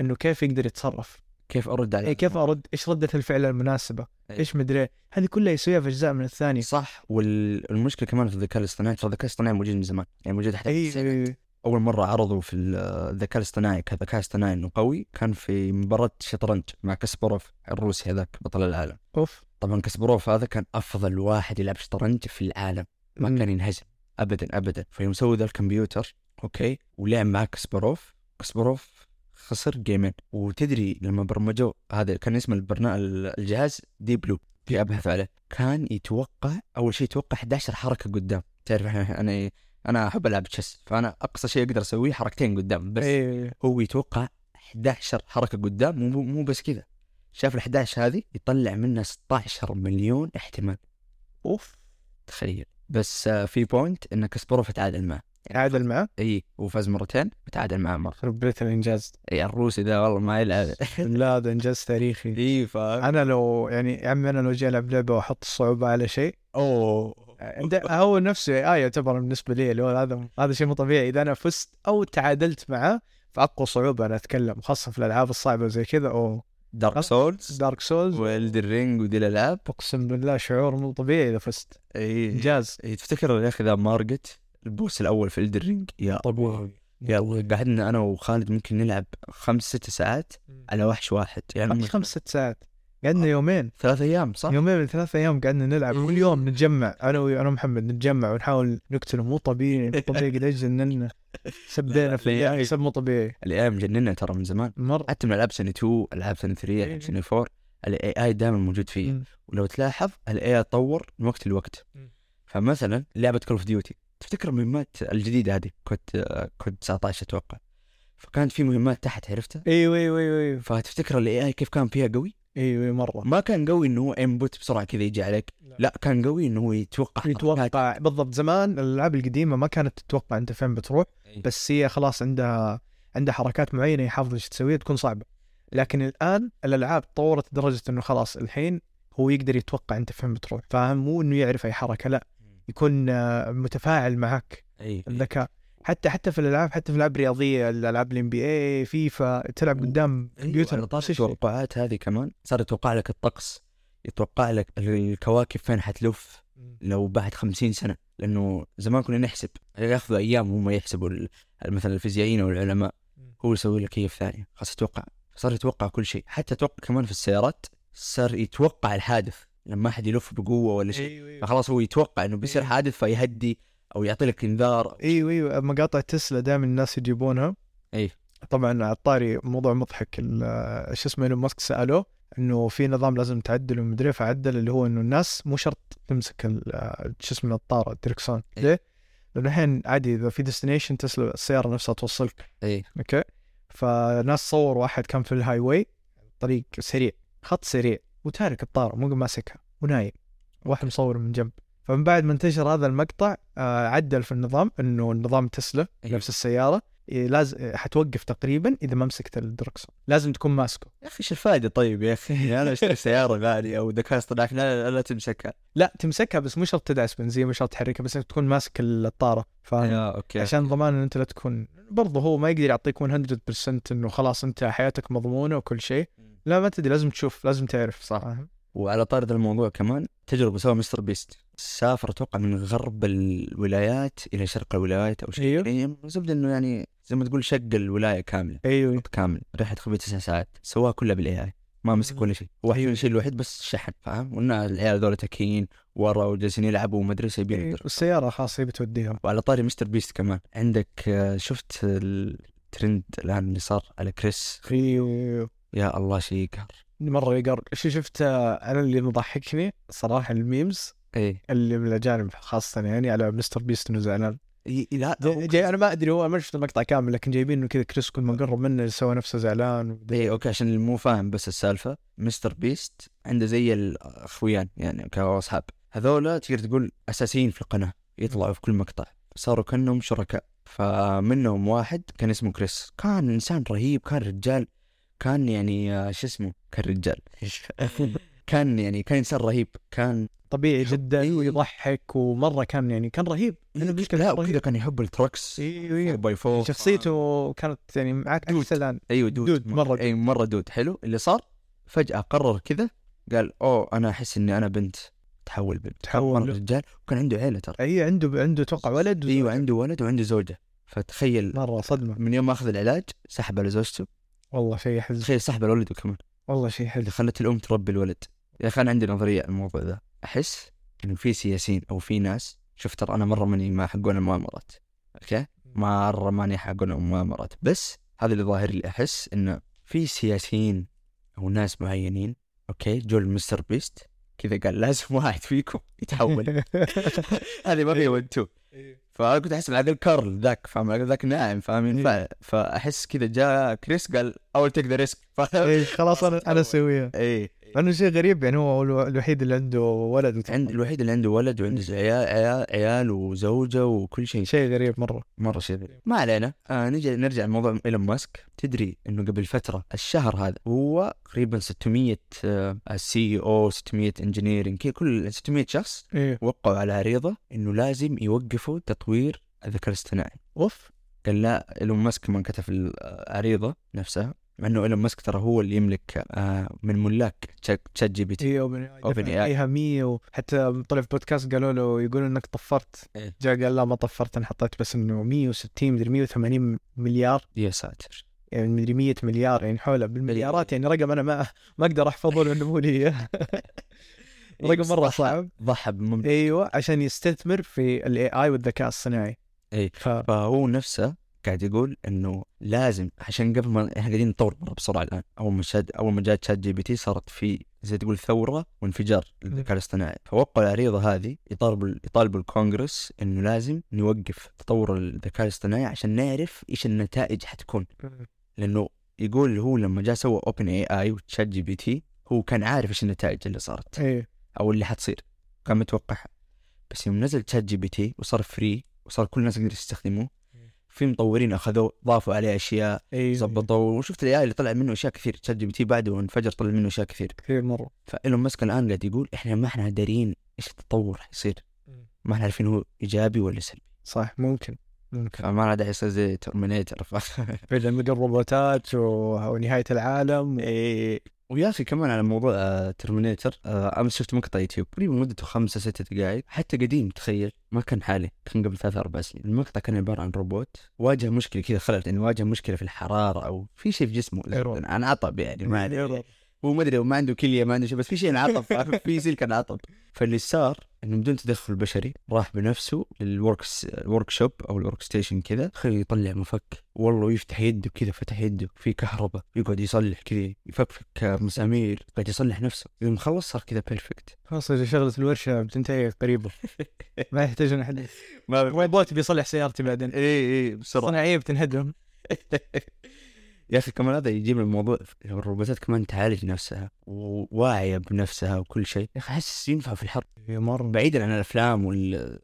Speaker 2: انه كيف يقدر يتصرف
Speaker 1: كيف ارد عليه
Speaker 2: إيه كيف ارد ايش رده الفعل المناسبه
Speaker 1: إيه.
Speaker 2: ايش مدري إيه. هذه كلها يسويها في اجزاء من الثانيه
Speaker 1: صح والمشكله كمان في الذكاء الاصطناعي ترى الذكاء الاصطناعي موجود من زمان يعني موجود حتى في
Speaker 2: اي
Speaker 1: التسعينات. اول مره عرضوا في ال- الذكاء الاصطناعي كذكاء اصطناعي انه قوي كان في مباراه شطرنج مع كاسبروف الروسي هذاك بطل العالم
Speaker 2: اوف
Speaker 1: طبعا كاسبروف هذا كان افضل واحد يلعب شطرنج في العالم ما كان ينهزم ابدا ابدا فيوم سووا ذا الكمبيوتر اوكي ولعب معاه كاسبروف كاسبروف خسر جيمين وتدري لما برمجوه هذا كان اسم البرنامج الجهاز دي بلو في ابحث عليه كان يتوقع اول شيء يتوقع 11 حركه قدام تعرف احنا انا انا احب العب تشيس فانا اقصى شيء اقدر اسويه حركتين قدام بس
Speaker 2: اي
Speaker 1: هو يتوقع 11 حركه قدام مو مو بس كذا شاف ال 11 هذه يطلع منها 16 مليون احتمال
Speaker 2: اوف
Speaker 1: تخيل بس آه، في بوينت ان كسبروف تعادل معه
Speaker 2: عادل معه
Speaker 1: اي وفاز مرتين وتعادل معاه مره
Speaker 2: خرب بيت الانجاز
Speaker 1: اي الروسي ذا والله ما
Speaker 2: *laughs*
Speaker 1: يلعب
Speaker 2: لا هذا انجاز تاريخي
Speaker 1: اي فا
Speaker 2: انا لو يعني يا عمي انا لو جاي العب لعبه واحط الصعوبه على شيء
Speaker 1: اوه
Speaker 2: ده هو نفسه اي آي يعتبر بالنسبه لي اللي هو هذا هذا شيء مو طبيعي اذا انا فزت او تعادلت معاه في اقوى صعوبه انا اتكلم خاصه في الالعاب الصعبه زي كذا او
Speaker 1: دارك سولز
Speaker 2: دارك سولز
Speaker 1: والدرينج ودي الالعاب
Speaker 2: اقسم بالله شعور مو طبيعي اذا فزت
Speaker 1: اي
Speaker 2: انجاز
Speaker 1: إي، تفتكر يا اخي ذا مارجت البوس الاول في الدرينج يا
Speaker 2: طبيعي
Speaker 1: يلا قعدنا انا وخالد ممكن نلعب خمس ست ساعات على وحش واحد يعني
Speaker 2: خمس ست ساعات قعدنا يومين
Speaker 1: ثلاث ايام صح؟
Speaker 2: يومين من ثلاث ايام قعدنا نلعب كل يوم نتجمع انا وانا محمد نتجمع ونحاول نقتله مو طبيعي مو طبيعي قد ايش
Speaker 1: *laughs*
Speaker 2: جننا
Speaker 1: لا،
Speaker 2: سبينا في
Speaker 1: لا،
Speaker 2: اليوم، سب مو طبيعي
Speaker 1: الاي مجننا ترى من زمان
Speaker 2: مره
Speaker 1: حتى من العاب سنه 2 العاب سنه 3
Speaker 2: إيه.
Speaker 1: العاب سنه 4 الاي اي دائما موجود فيه
Speaker 2: مم.
Speaker 1: ولو تلاحظ الاي اي تطور من وقت لوقت
Speaker 2: مم.
Speaker 1: فمثلا لعبه كول اوف ديوتي تفتكر المهمات الجديده هذه كود آه، كود 19 اتوقع فكانت في مهمات تحت عرفتها
Speaker 2: ايوه ايوه ايوه ايوه
Speaker 1: فتفتكر الاي اي كيف كان فيها قوي؟
Speaker 2: ايوه أيوة، مره
Speaker 1: ما كان قوي انه هو انبوت بسرعه كذا يجي عليك
Speaker 2: لا.
Speaker 1: لا كان قوي انه هو يتوقع حركات.
Speaker 2: يتوقع بالضبط زمان الالعاب القديمه ما كانت تتوقع انت فين بتروح
Speaker 1: أي.
Speaker 2: بس هي خلاص عندها عندها حركات معينه يحافظ ايش تسويها تكون صعبه لكن الان الالعاب تطورت لدرجه انه خلاص الحين هو يقدر يتوقع انت فين بتروح فاهم مو انه يعرف اي حركه لا يكون آه، متفاعل معك
Speaker 1: اي
Speaker 2: الذكاء حتى حتى في الالعاب حتى في الالعاب الرياضيه الالعاب الام بي اي فيفا تلعب قدام
Speaker 1: كمبيوتر
Speaker 2: كمبيوتر
Speaker 1: طار
Speaker 2: نفس الشيء.
Speaker 1: التوقعات إيه، هذه كمان صار يتوقع لك الطقس يتوقع لك الكواكب فين حتلف لو بعد خمسين سنة لأنه زمان كنا نحسب ياخذوا أيام هم يحسبوا ال- مثلا الفيزيائيين أو العلماء هو يسوي لك هي في ثانية خلاص يتوقع صار يتوقع كل شيء حتى توقع كمان في السيارات صار يتوقع الحادث لما أحد يلف بقوة ولا شيء
Speaker 2: ايوه ايوه
Speaker 1: فخلاص هو يتوقع إنه بيصير
Speaker 2: إيه.
Speaker 1: حادث فيهدي أو يعطي لك إنذار
Speaker 2: ايوه ايوه مقاطع تسلا دائما الناس يجيبونها
Speaker 1: إيه.
Speaker 2: طبعا على الطاري موضوع مضحك ال- شو اسمه ايلون ماسك سالوه انه في نظام لازم تعدله ومدري إيه، فعدل اللي هو انه الناس مو شرط تمسك ال- شو اسمه الطاره الدركسون
Speaker 1: إيه.
Speaker 2: ليه؟ لانه الحين عادي اذا في ديستنيشن تسلا السياره نفسها توصلك
Speaker 1: إيه
Speaker 2: اوكي فناس صوروا واحد كان في الهاي واي طريق سريع خط سريع وتارك الطاره مو ماسكها ونايم واحد مصور من جنب فمن بعد ما انتشر هذا المقطع آه، عدل في النظام انه النظام تسلا
Speaker 1: أيوة.
Speaker 2: نفس السياره إيه، لازم إيه، حتوقف تقريبا اذا ما مسكت الدركسون لازم تكون ماسكه
Speaker 1: يا أخي إيش الفائدة طيب يا أخي *laughs* أنا أشتري سيارة غالية أو ذكاء اصطناعي لا, لا, لا تمسكها
Speaker 2: لا تمسكها بس مو شرط تدعس بنزين مو شرط تحركها بس تكون ماسك الطاره فاهم
Speaker 1: يا اوكي
Speaker 2: عشان ضمان ان انت لا تكون برضه هو ما يقدر يعطيك 100% انه خلاص انت حياتك مضمونه وكل شيء لا ما تدري لازم تشوف لازم تعرف صراحه
Speaker 1: وعلى طار ذا الموضوع كمان تجربه سوى مستر بيست سافر اتوقع من غرب الولايات الى شرق الولايات او شيء
Speaker 2: أيوه.
Speaker 1: يعني زبد انه يعني زي ما تقول شق الولايه كامله
Speaker 2: ايوه
Speaker 1: خط كامل رحله تخبي تسع ساعات سواها كلها بالاي اي ما مسك
Speaker 2: مم.
Speaker 1: ولا شيء هو أيوه. الشيء الوحيد بس الشحن فاهم وقلنا العيال هذول تكين ورا وجالسين يلعبوا ومدرسه يبين
Speaker 2: إيه،
Speaker 1: يقدر.
Speaker 2: والسياره خلاص هي بتوديهم
Speaker 1: وعلى طاري مستر بيست كمان عندك آه، شفت الترند الان اللي صار على كريس
Speaker 2: ايوه
Speaker 1: يا الله شيء يقهر
Speaker 2: مره يقر شو شفت آه، انا اللي مضحكني صراحه الميمز
Speaker 1: ايه
Speaker 2: اللي من الاجانب خاصه يعني على مستر بيست انه زعلان
Speaker 1: إيه. لا هو
Speaker 2: جاي انا ما ادري هو ما شفت المقطع كامل لكن جايبين انه كذا كريس كل ما قرب منه سوى نفسه زعلان
Speaker 1: اي اوكي عشان اللي مو فاهم بس السالفه مستر بيست عنده زي الاخويان يعني كاصحاب هذولا تقدر تقول اساسيين في القناه يطلعوا في كل مقطع صاروا كانهم شركاء فمنهم واحد كان اسمه كريس كان انسان رهيب كان رجال كان يعني آه، شو اسمه كان رجال كان يعني كان انسان رهيب كان *laughs*
Speaker 2: طبيعي جدا
Speaker 1: إيه.
Speaker 2: ويضحك ومره كان يعني كان رهيب أنا قلت لك
Speaker 1: لا
Speaker 2: رهيب.
Speaker 1: وكذا كان يحب التركس
Speaker 2: إيوه، إيوه.
Speaker 1: باي فور
Speaker 2: شخصيته كانت يعني معك
Speaker 1: دود.
Speaker 2: عكس الان
Speaker 1: ايوه دود,
Speaker 2: دود، مرة
Speaker 1: اي مره دود حلو اللي صار فجاه قرر كذا قال اوه انا احس اني انا بنت تحول بنت
Speaker 2: تحول.
Speaker 1: مرة رجال وكان عنده عيله ترى
Speaker 2: اي عنده عنده توقع ولد و-
Speaker 1: ايوه عنده ولد وعنده زوجه فتخيل
Speaker 2: مره صدمه
Speaker 1: من يوم ما اخذ العلاج سحب على زوجته
Speaker 2: والله شيء حزن
Speaker 1: تخيل سحب على ولده كمان
Speaker 2: والله شيء حزن
Speaker 1: اللي خلت الام تربي الولد يا اخي انا عندي نظريه على الموضوع ذا احس انه في سياسيين او في ناس شوف ترى انا مره ماني مع حقون المؤامرات اوكي مره ماني حقون المؤامرات بس هذا اللي ظاهر لي احس انه في سياسيين او ناس معينين اوكي جول مستر بيست كذا قال لازم *laughs* واحد فيكم يتحول *laughs* هذه ما فيها ون تو فانا كنت احس إن هذا الكارل ذاك فاهم ذاك ناعم فاهم ينفع فاحس كذا جاء كريس قال اول تيك ذا ريسك
Speaker 2: *laughs* إيه، خلاص انا انا اسويها
Speaker 1: اي
Speaker 2: لانه شيء غريب يعني هو الو- الوحيد اللي عنده ولد وت-
Speaker 1: عند الوحيد اللي عنده ولد وعنده عيال عيال, عيال وزوجه وكل شيء
Speaker 2: شيء غريب مره
Speaker 1: مره شيء غريب. ما علينا آه نجي نرجع لموضوع ايلون ماسك تدري انه قبل فتره الشهر هذا هو آه، تقريبا 600 سي او 600 انجينيرنج كي كل 600 شخص
Speaker 2: ايه
Speaker 1: وقعوا على عريضه انه لازم يوقفوا تطوير الذكاء الاصطناعي
Speaker 2: اوف
Speaker 1: قال لا ايلون ماسك من كتب العريضه نفسها مع انه ايلون ماسك ترى هو اللي يملك آه من ملاك تشات جي بي تي
Speaker 2: اي اوبن اي
Speaker 1: Open AI.
Speaker 2: ايهاميه وحتى طلع في بودكاست قالوا له يقولوا انك طفرت
Speaker 1: إيه.
Speaker 2: جاء قال لا ما طفرت انا حطيت بس انه 160 مدري 180 مليار
Speaker 1: يا ساتر
Speaker 2: يعني مدري 100 مليار يعني حوله بالمليارات يعني رقم انا ما ما اقدر احفظه لانه
Speaker 1: *laughs*
Speaker 2: مو لي إياه.
Speaker 1: طيب،
Speaker 2: رقم مره صعب
Speaker 1: ضحى بمملكة
Speaker 2: ايوه عشان يستثمر في الاي اي والذكاء الصناعي
Speaker 1: اي
Speaker 2: ف
Speaker 1: فهو نفسه قاعد يقول انه لازم عشان قبل ما احنا قاعدين نطور مره بسرعه الان اول ما شاد اول ما جات شات جي بي تي صارت في زي تقول ثوره وانفجار للذكاء الاصطناعي فوقعوا العريضه هذه يطالبوا يطالبوا الكونغرس انه لازم نوقف تطور الذكاء الاصطناعي عشان نعرف ايش النتائج حتكون لانه يقول هو لما جاء سوى اوبن اي اي وتشات جي بي تي هو كان عارف ايش النتائج اللي صارت
Speaker 2: ايه
Speaker 1: او اللي حتصير كان متوقعها بس يوم نزل تشات جي بي تي وصار فري وصار كل الناس يقدر يستخدموه في مطورين اخذوه ضافوا عليه اشياء
Speaker 2: ايه
Speaker 1: ظبطوا وشفت الاي اللي طلع منه اشياء كثير تشات جي بي تي بعده انفجر طلع منه اشياء كثير
Speaker 2: كثير مره
Speaker 1: فايلون ماسك الان قاعد يقول احنا ما احنا دارين ايش التطور حيصير ما احنا عارفين هو ايجابي ولا سلبي
Speaker 2: صح ممكن ممكن
Speaker 1: فما له داعي يصير زي ترمينيتر
Speaker 2: فعلا بدل الروبوتات و- ونهايه العالم
Speaker 1: إيه ويا اخي كمان على موضوع آه، ترمينيتر امس شفت مقطع يوتيوب تقريبا مدته خمسة ستة دقائق حتى قديم تخيل ما كان حالي كان قبل ثلاث اربع سنين المقطع كان عباره عن روبوت واجه مشكله كذا خلل انه واجه مشكله في الحراره او في شيء في جسمه
Speaker 2: Error.
Speaker 1: عن عطب يعني ما ادري
Speaker 2: Error.
Speaker 1: هو ما ادري ما عنده كليه ما عنده شيء بس في شيء انعطب في سلك انعطب فاللي صار انه بدون تدخل بشري راح بنفسه للوركس الورك شوب او الورك ستيشن كذا خليه يطلع مفك والله يفتح يده كذا فتح يده في كهرباء يقعد يصلح كذا يفكفك مسامير قاعد يصلح نفسه يوم خلص صار كذا بيرفكت
Speaker 2: خلاص إذا شغله الورشه بتنتهي
Speaker 1: *laughs*
Speaker 2: قريبا ما يحتاج أن احد الروبوت بيصلح سيارتي بعدين
Speaker 1: اي اي بسرعه
Speaker 2: صناعيه بتنهدم
Speaker 1: *laughs* يا اخي كمان هذا يجيب الموضوع الروبوتات كمان تعالج نفسها وواعيه بنفسها وكل شيء يا اخي احس ينفع في الحرب
Speaker 2: إيه، مره
Speaker 1: بعيدا عن الافلام والخيال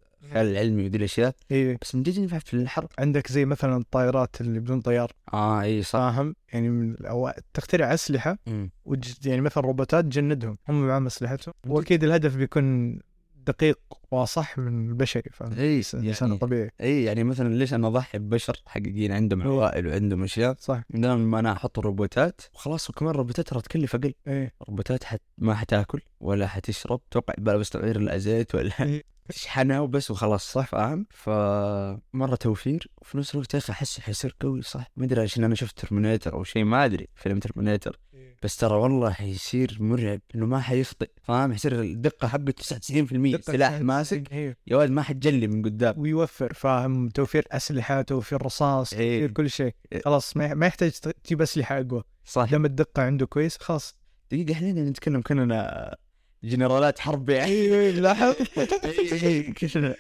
Speaker 1: العلمي وذي الاشياء
Speaker 2: ايه
Speaker 1: بس من جد ينفع في الحرب
Speaker 2: عندك زي مثلا الطائرات اللي بدون طيار
Speaker 1: اه اي صح
Speaker 2: فاهم يعني من أو تخترع اسلحه
Speaker 1: مم.
Speaker 2: وتج... يعني مثلا روبوتات تجندهم هم معاهم اسلحتهم واكيد الهدف بيكون دقيق واصح من البشري فاهم
Speaker 1: اي
Speaker 2: إنسان- انسان
Speaker 1: يعني
Speaker 2: طبيعي
Speaker 1: اي يعني مثلا ليش انا اضحي ببشر حقيقيين عندهم
Speaker 2: إيه.
Speaker 1: عوائل وعندهم اشياء
Speaker 2: صح
Speaker 1: دام ما انا احط روبوتات وخلاص وكمان روبوتات ترى تكلف اقل
Speaker 2: ايه
Speaker 1: روبوتات حت ما حتاكل ولا حتشرب توقع بقى بس تغير لها زيت ولا
Speaker 2: إيه.
Speaker 1: *laughs* تشحنها وبس وخلاص صح فاهم فمره توفير وفي نفس الوقت يا اخي احس حيصير قوي صح ما ادري عشان انا شفت ترمينيتر او شيء ما ادري فيلم ترمينيتر بس ترى والله حيصير مرعب انه ما حيخطئ فاهم حيصير الدقه حقته 99%
Speaker 2: دقة
Speaker 1: سلاح
Speaker 2: ساعة-
Speaker 1: ماسك
Speaker 2: ايه
Speaker 1: يا ولد ما حتجلي من قدام
Speaker 2: ويوفر فاهم توفير اسلحه توفير رصاص
Speaker 1: إيه.
Speaker 2: توفير كل شيء
Speaker 1: إيه.
Speaker 2: خلاص ما ما يحتاج ت- تجيب اسلحه اقوى
Speaker 1: *laughs* صح
Speaker 2: دام الدقه عنده كويس خلاص
Speaker 1: دقيقة احنا قاعدين نتكلم كأننا جنرالات حرب يعني إيه،
Speaker 2: ايه لاحظ
Speaker 1: كأننا-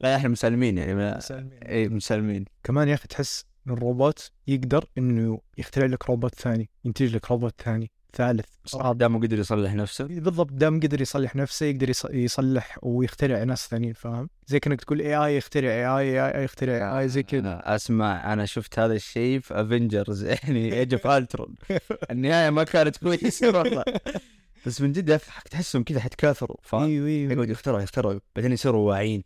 Speaker 1: لا احنا مسالمين يعني ما...
Speaker 2: سالمين.
Speaker 1: اي مسالمين
Speaker 2: كمان يا اخي تحس ان الروبوت يقدر انه يخترع لك روبوت ثاني ينتج لك روبوت ثاني ثالث
Speaker 1: صراحة
Speaker 2: رابع
Speaker 1: دامه قدر يصلح نفسه
Speaker 2: بالضبط دام قدر يصلح نفسه يقدر يص- يصلح ويخترع ناس ثانيين فاهم زي كانك تقول اي اي يخترع اي اي يخترع اي اي زي كذا
Speaker 1: أنا اسمع انا شفت هذا الشيء في افنجرز يعني ايج اوف الترون النهاية ما كانت كويسة *laughs*
Speaker 2: *laughs*
Speaker 1: والله بس من جد يا أخي تحسهم كذا حتكاثروا فاهم *laughs*
Speaker 2: ايوه ايوه
Speaker 1: يقعدوا يخترعوا يخترعوا بعدين يصيروا واعيين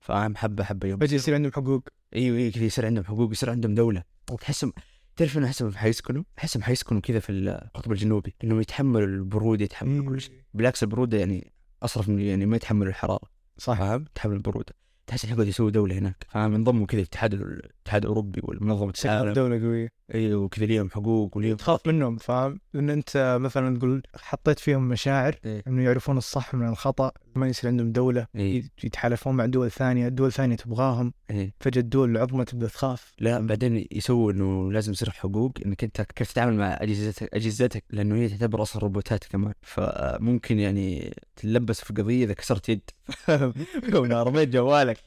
Speaker 1: فاهم حبة حبة يوم
Speaker 2: فجاه يصير عندهم حقوق
Speaker 1: ايوه ايوه كذا يصير عندهم حقوق يصير عندهم دوله وتحسهم تعرف انا احسهم حيسكنوا احسهم حيسكنوا كذا في القطب الجنوبي انهم يتحملوا البروده يتحملوا كل شيء بالعكس البروده يعني اصرف من يعني ما يتحملوا الحراره
Speaker 2: صح
Speaker 1: فاهم تحمل البروده تحس إنهم يقعدوا يسووا دوله هناك فاهم ينضموا كذا الاتحاد الاتحاد الاوروبي والمنظمه
Speaker 2: شكلها
Speaker 1: العالم
Speaker 2: دولة قوية
Speaker 1: ايوه وكذا ليهم حقوق وليهم
Speaker 2: تخاف منهم فاهم؟ لأن أنت مثلا تقول حطيت فيهم مشاعر
Speaker 1: إيه.
Speaker 2: إنه يعرفون الصح من الخطأ ما يصير عندهم دولة
Speaker 1: إيه.
Speaker 2: يتحالفون مع دول ثانية دول ثانية تبغاهم
Speaker 1: إيه.
Speaker 2: فجأة الدول العظمى تبدأ تخاف
Speaker 1: لا بعدين يسووا انه لازم يصير حقوق انك انت كيف تتعامل مع اجهزتك اجهزتك لانه هي تعتبر اصلا روبوتات كمان فممكن يعني تتلبس في قضيه اذا كسرت يد *laughs* كونها رميت جوالك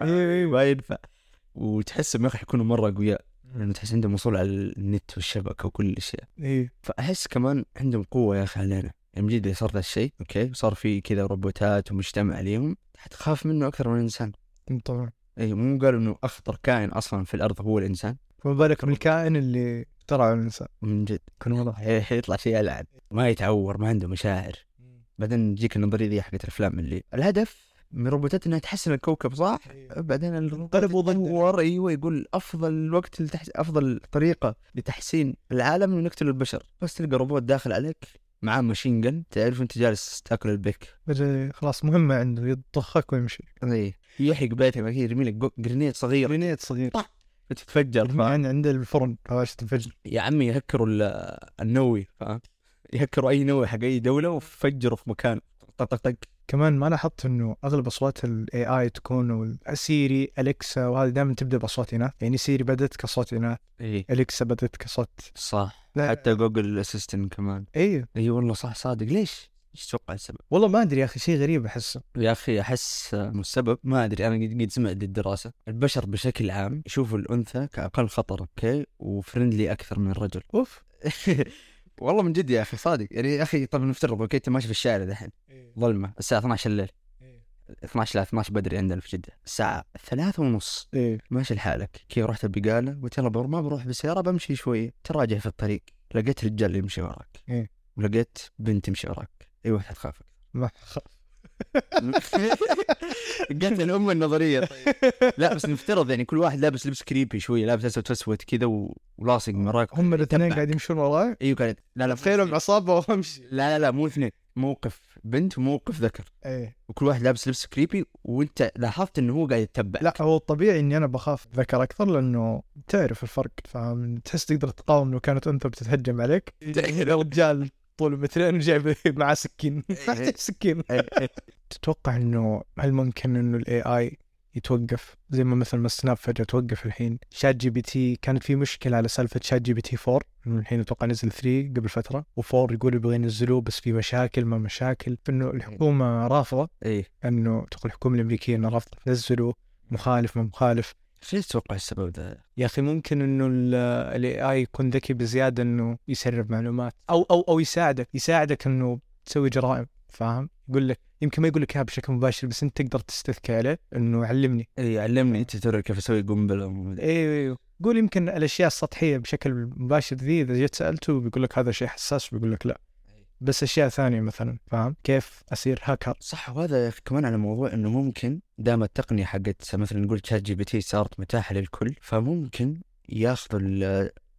Speaker 1: ما ينفع وتحس يا اخي يكونوا مره قوياء لانه تحس عندهم وصول على النت والشبكه وكل الاشياء
Speaker 2: إيه
Speaker 1: فاحس كمان عندهم قوه يا اخي علينا يعني من جد إذا صار ذا الشيء اوكي صار في كذا روبوتات ومجتمع عليهم حتخاف منه اكثر من الانسان
Speaker 2: طبعا
Speaker 1: اي مو قالوا انه اخطر كائن اصلا في الارض هو الانسان
Speaker 2: فما بالك بالكائن اللي ترى الإنسان
Speaker 1: من جد
Speaker 2: كان والله
Speaker 1: حي- حيطلع شيء العن ما يتعور ما عنده مشاعر بعدين تجيك النظريه ذي حقت الافلام اللي الهدف من روبوتات انها تحسن الكوكب صح؟ بعدين
Speaker 2: انقلبوا ضدنا.
Speaker 1: ضدنا ايوه يقول افضل وقت لتحس... افضل طريقه لتحسين العالم انه نقتل البشر بس تلقى روبوت داخل عليك معاه ماشين جن تعرف انت جالس تاكل البك
Speaker 2: فجأة خلاص مهمة عنده يضخك ويمشي
Speaker 1: إيه، اي يحرق بيتك بعد كذا يرمي لك جو- جرنيت صغير
Speaker 2: جرينيت صغير
Speaker 1: طح. تتفجر فاهم؟
Speaker 2: يعني عند الفرن فاش تنفجر
Speaker 1: يا عمي يهكروا ال- النووي فاهم يهكروا اي نووي حق اي دوله وفجروا في مكان طق طق طق
Speaker 2: كمان ما لاحظت انه اغلب اصوات الاي اي تكون وال- سيري اليكسا وهذه دائما تبدا باصوات اناث يعني سيري بدت كصوت اناث
Speaker 1: اي
Speaker 2: اليكسا بدت كصوت
Speaker 1: صح
Speaker 2: لا
Speaker 1: حتى جوجل اسيستنت كمان
Speaker 2: اي
Speaker 1: اي والله صح صادق ليش؟ ايش تتوقع السبب؟
Speaker 2: والله ما ادري يا اخي شيء غريب احسه
Speaker 1: يا اخي احس آه، السبب ما ادري انا قد قد سمعت دي الدراسه البشر بشكل عام يشوفوا الانثى كاقل خطر اوكي وفرندلي اكثر من الرجل
Speaker 2: اوف
Speaker 1: *laughs* والله من جد يا اخي صادق يعني يا اخي طب نفترض اوكي انت ماشي في الشارع دحين ظلمه الساعه 12 الليل
Speaker 2: إيه.
Speaker 1: 12 لا 12 بدري عندنا في جده الساعه ثلاثة ونص
Speaker 2: ايه
Speaker 1: ماشي لحالك كي رحت البقاله قلت يلا بر- ما بروح بالسياره بمشي شويه تراجع في الطريق لقيت رجال يمشي وراك
Speaker 2: إيه.
Speaker 1: ولقيت بنت تمشي وراك اي واحد
Speaker 2: *laughs*
Speaker 1: تخافك
Speaker 2: ما خ-
Speaker 1: قالت الام النظريه *laughs* طيب لا بس نفترض يعني كل واحد لابس لبس كريبي شويه لابس اسود اسود كذا و- ولاصق مراك
Speaker 2: هم الاثنين
Speaker 1: يتبعك.
Speaker 2: قاعد يمشون وراي
Speaker 1: ايوه كانت لا لا
Speaker 2: تخيلهم بعصابه وامشي
Speaker 1: لا لا لا مو اثنين موقف بنت وموقف ذكر
Speaker 2: ايه
Speaker 1: وكل واحد لابس لبس كريبي وانت لاحظت انه هو قاعد يتبع
Speaker 2: لا هو الطبيعي اني انا بخاف ذكر اكثر لانه تعرف الفرق فاهم تحس تقدر تقاوم لو كانت انثى بتتهجم عليك
Speaker 1: إيه.
Speaker 2: يا رجال طول مترين وجايب معاه سكين
Speaker 1: إيه.
Speaker 2: محتاج *laughs* سكين تتوقع انه هل ممكن انه الاي اي يتوقف زي ما مثلا ما سناب فجاه توقف الحين شات جي بي تي كانت في مشكله على سالفه شات جي بي تي 4 إنه الحين اتوقع نزل 3 قبل فتره و4 يقولوا يبغى ينزلوه بس في مشاكل ما مشاكل فانه الحكومه رافضه
Speaker 1: ايه
Speaker 2: انه تقول الحكومه الامريكيه انها رافضه تنزله مخالف ما مخالف
Speaker 1: ايش تتوقع السبب ذا؟
Speaker 2: يا اخي ممكن انه الاي اي يكون ذكي بزياده انه يسرب معلومات او او او يساعدك يساعدك انه تسوي جرائم فاهم؟ يقول لك يمكن ما يقول لك اياها بشكل مباشر بس انت تقدر تستذكى عليه انه علمني
Speaker 1: اي إيه، علمني انت ترى كيف اسوي قنبله وما أدري.
Speaker 2: ايوه ايوه قول يمكن الاشياء السطحيه بشكل مباشر ذي اذا جيت سالته بيقول لك هذا شيء حساس بيقول لك لا بس اشياء ثانيه مثلا فاهم؟ كيف اصير هاكر؟
Speaker 1: صح وهذا يا أخي كمان على موضوع انه ممكن دام التقنيه حقت مثلا نقول شات جي بي تي صارت متاحه للكل فممكن ياخذوا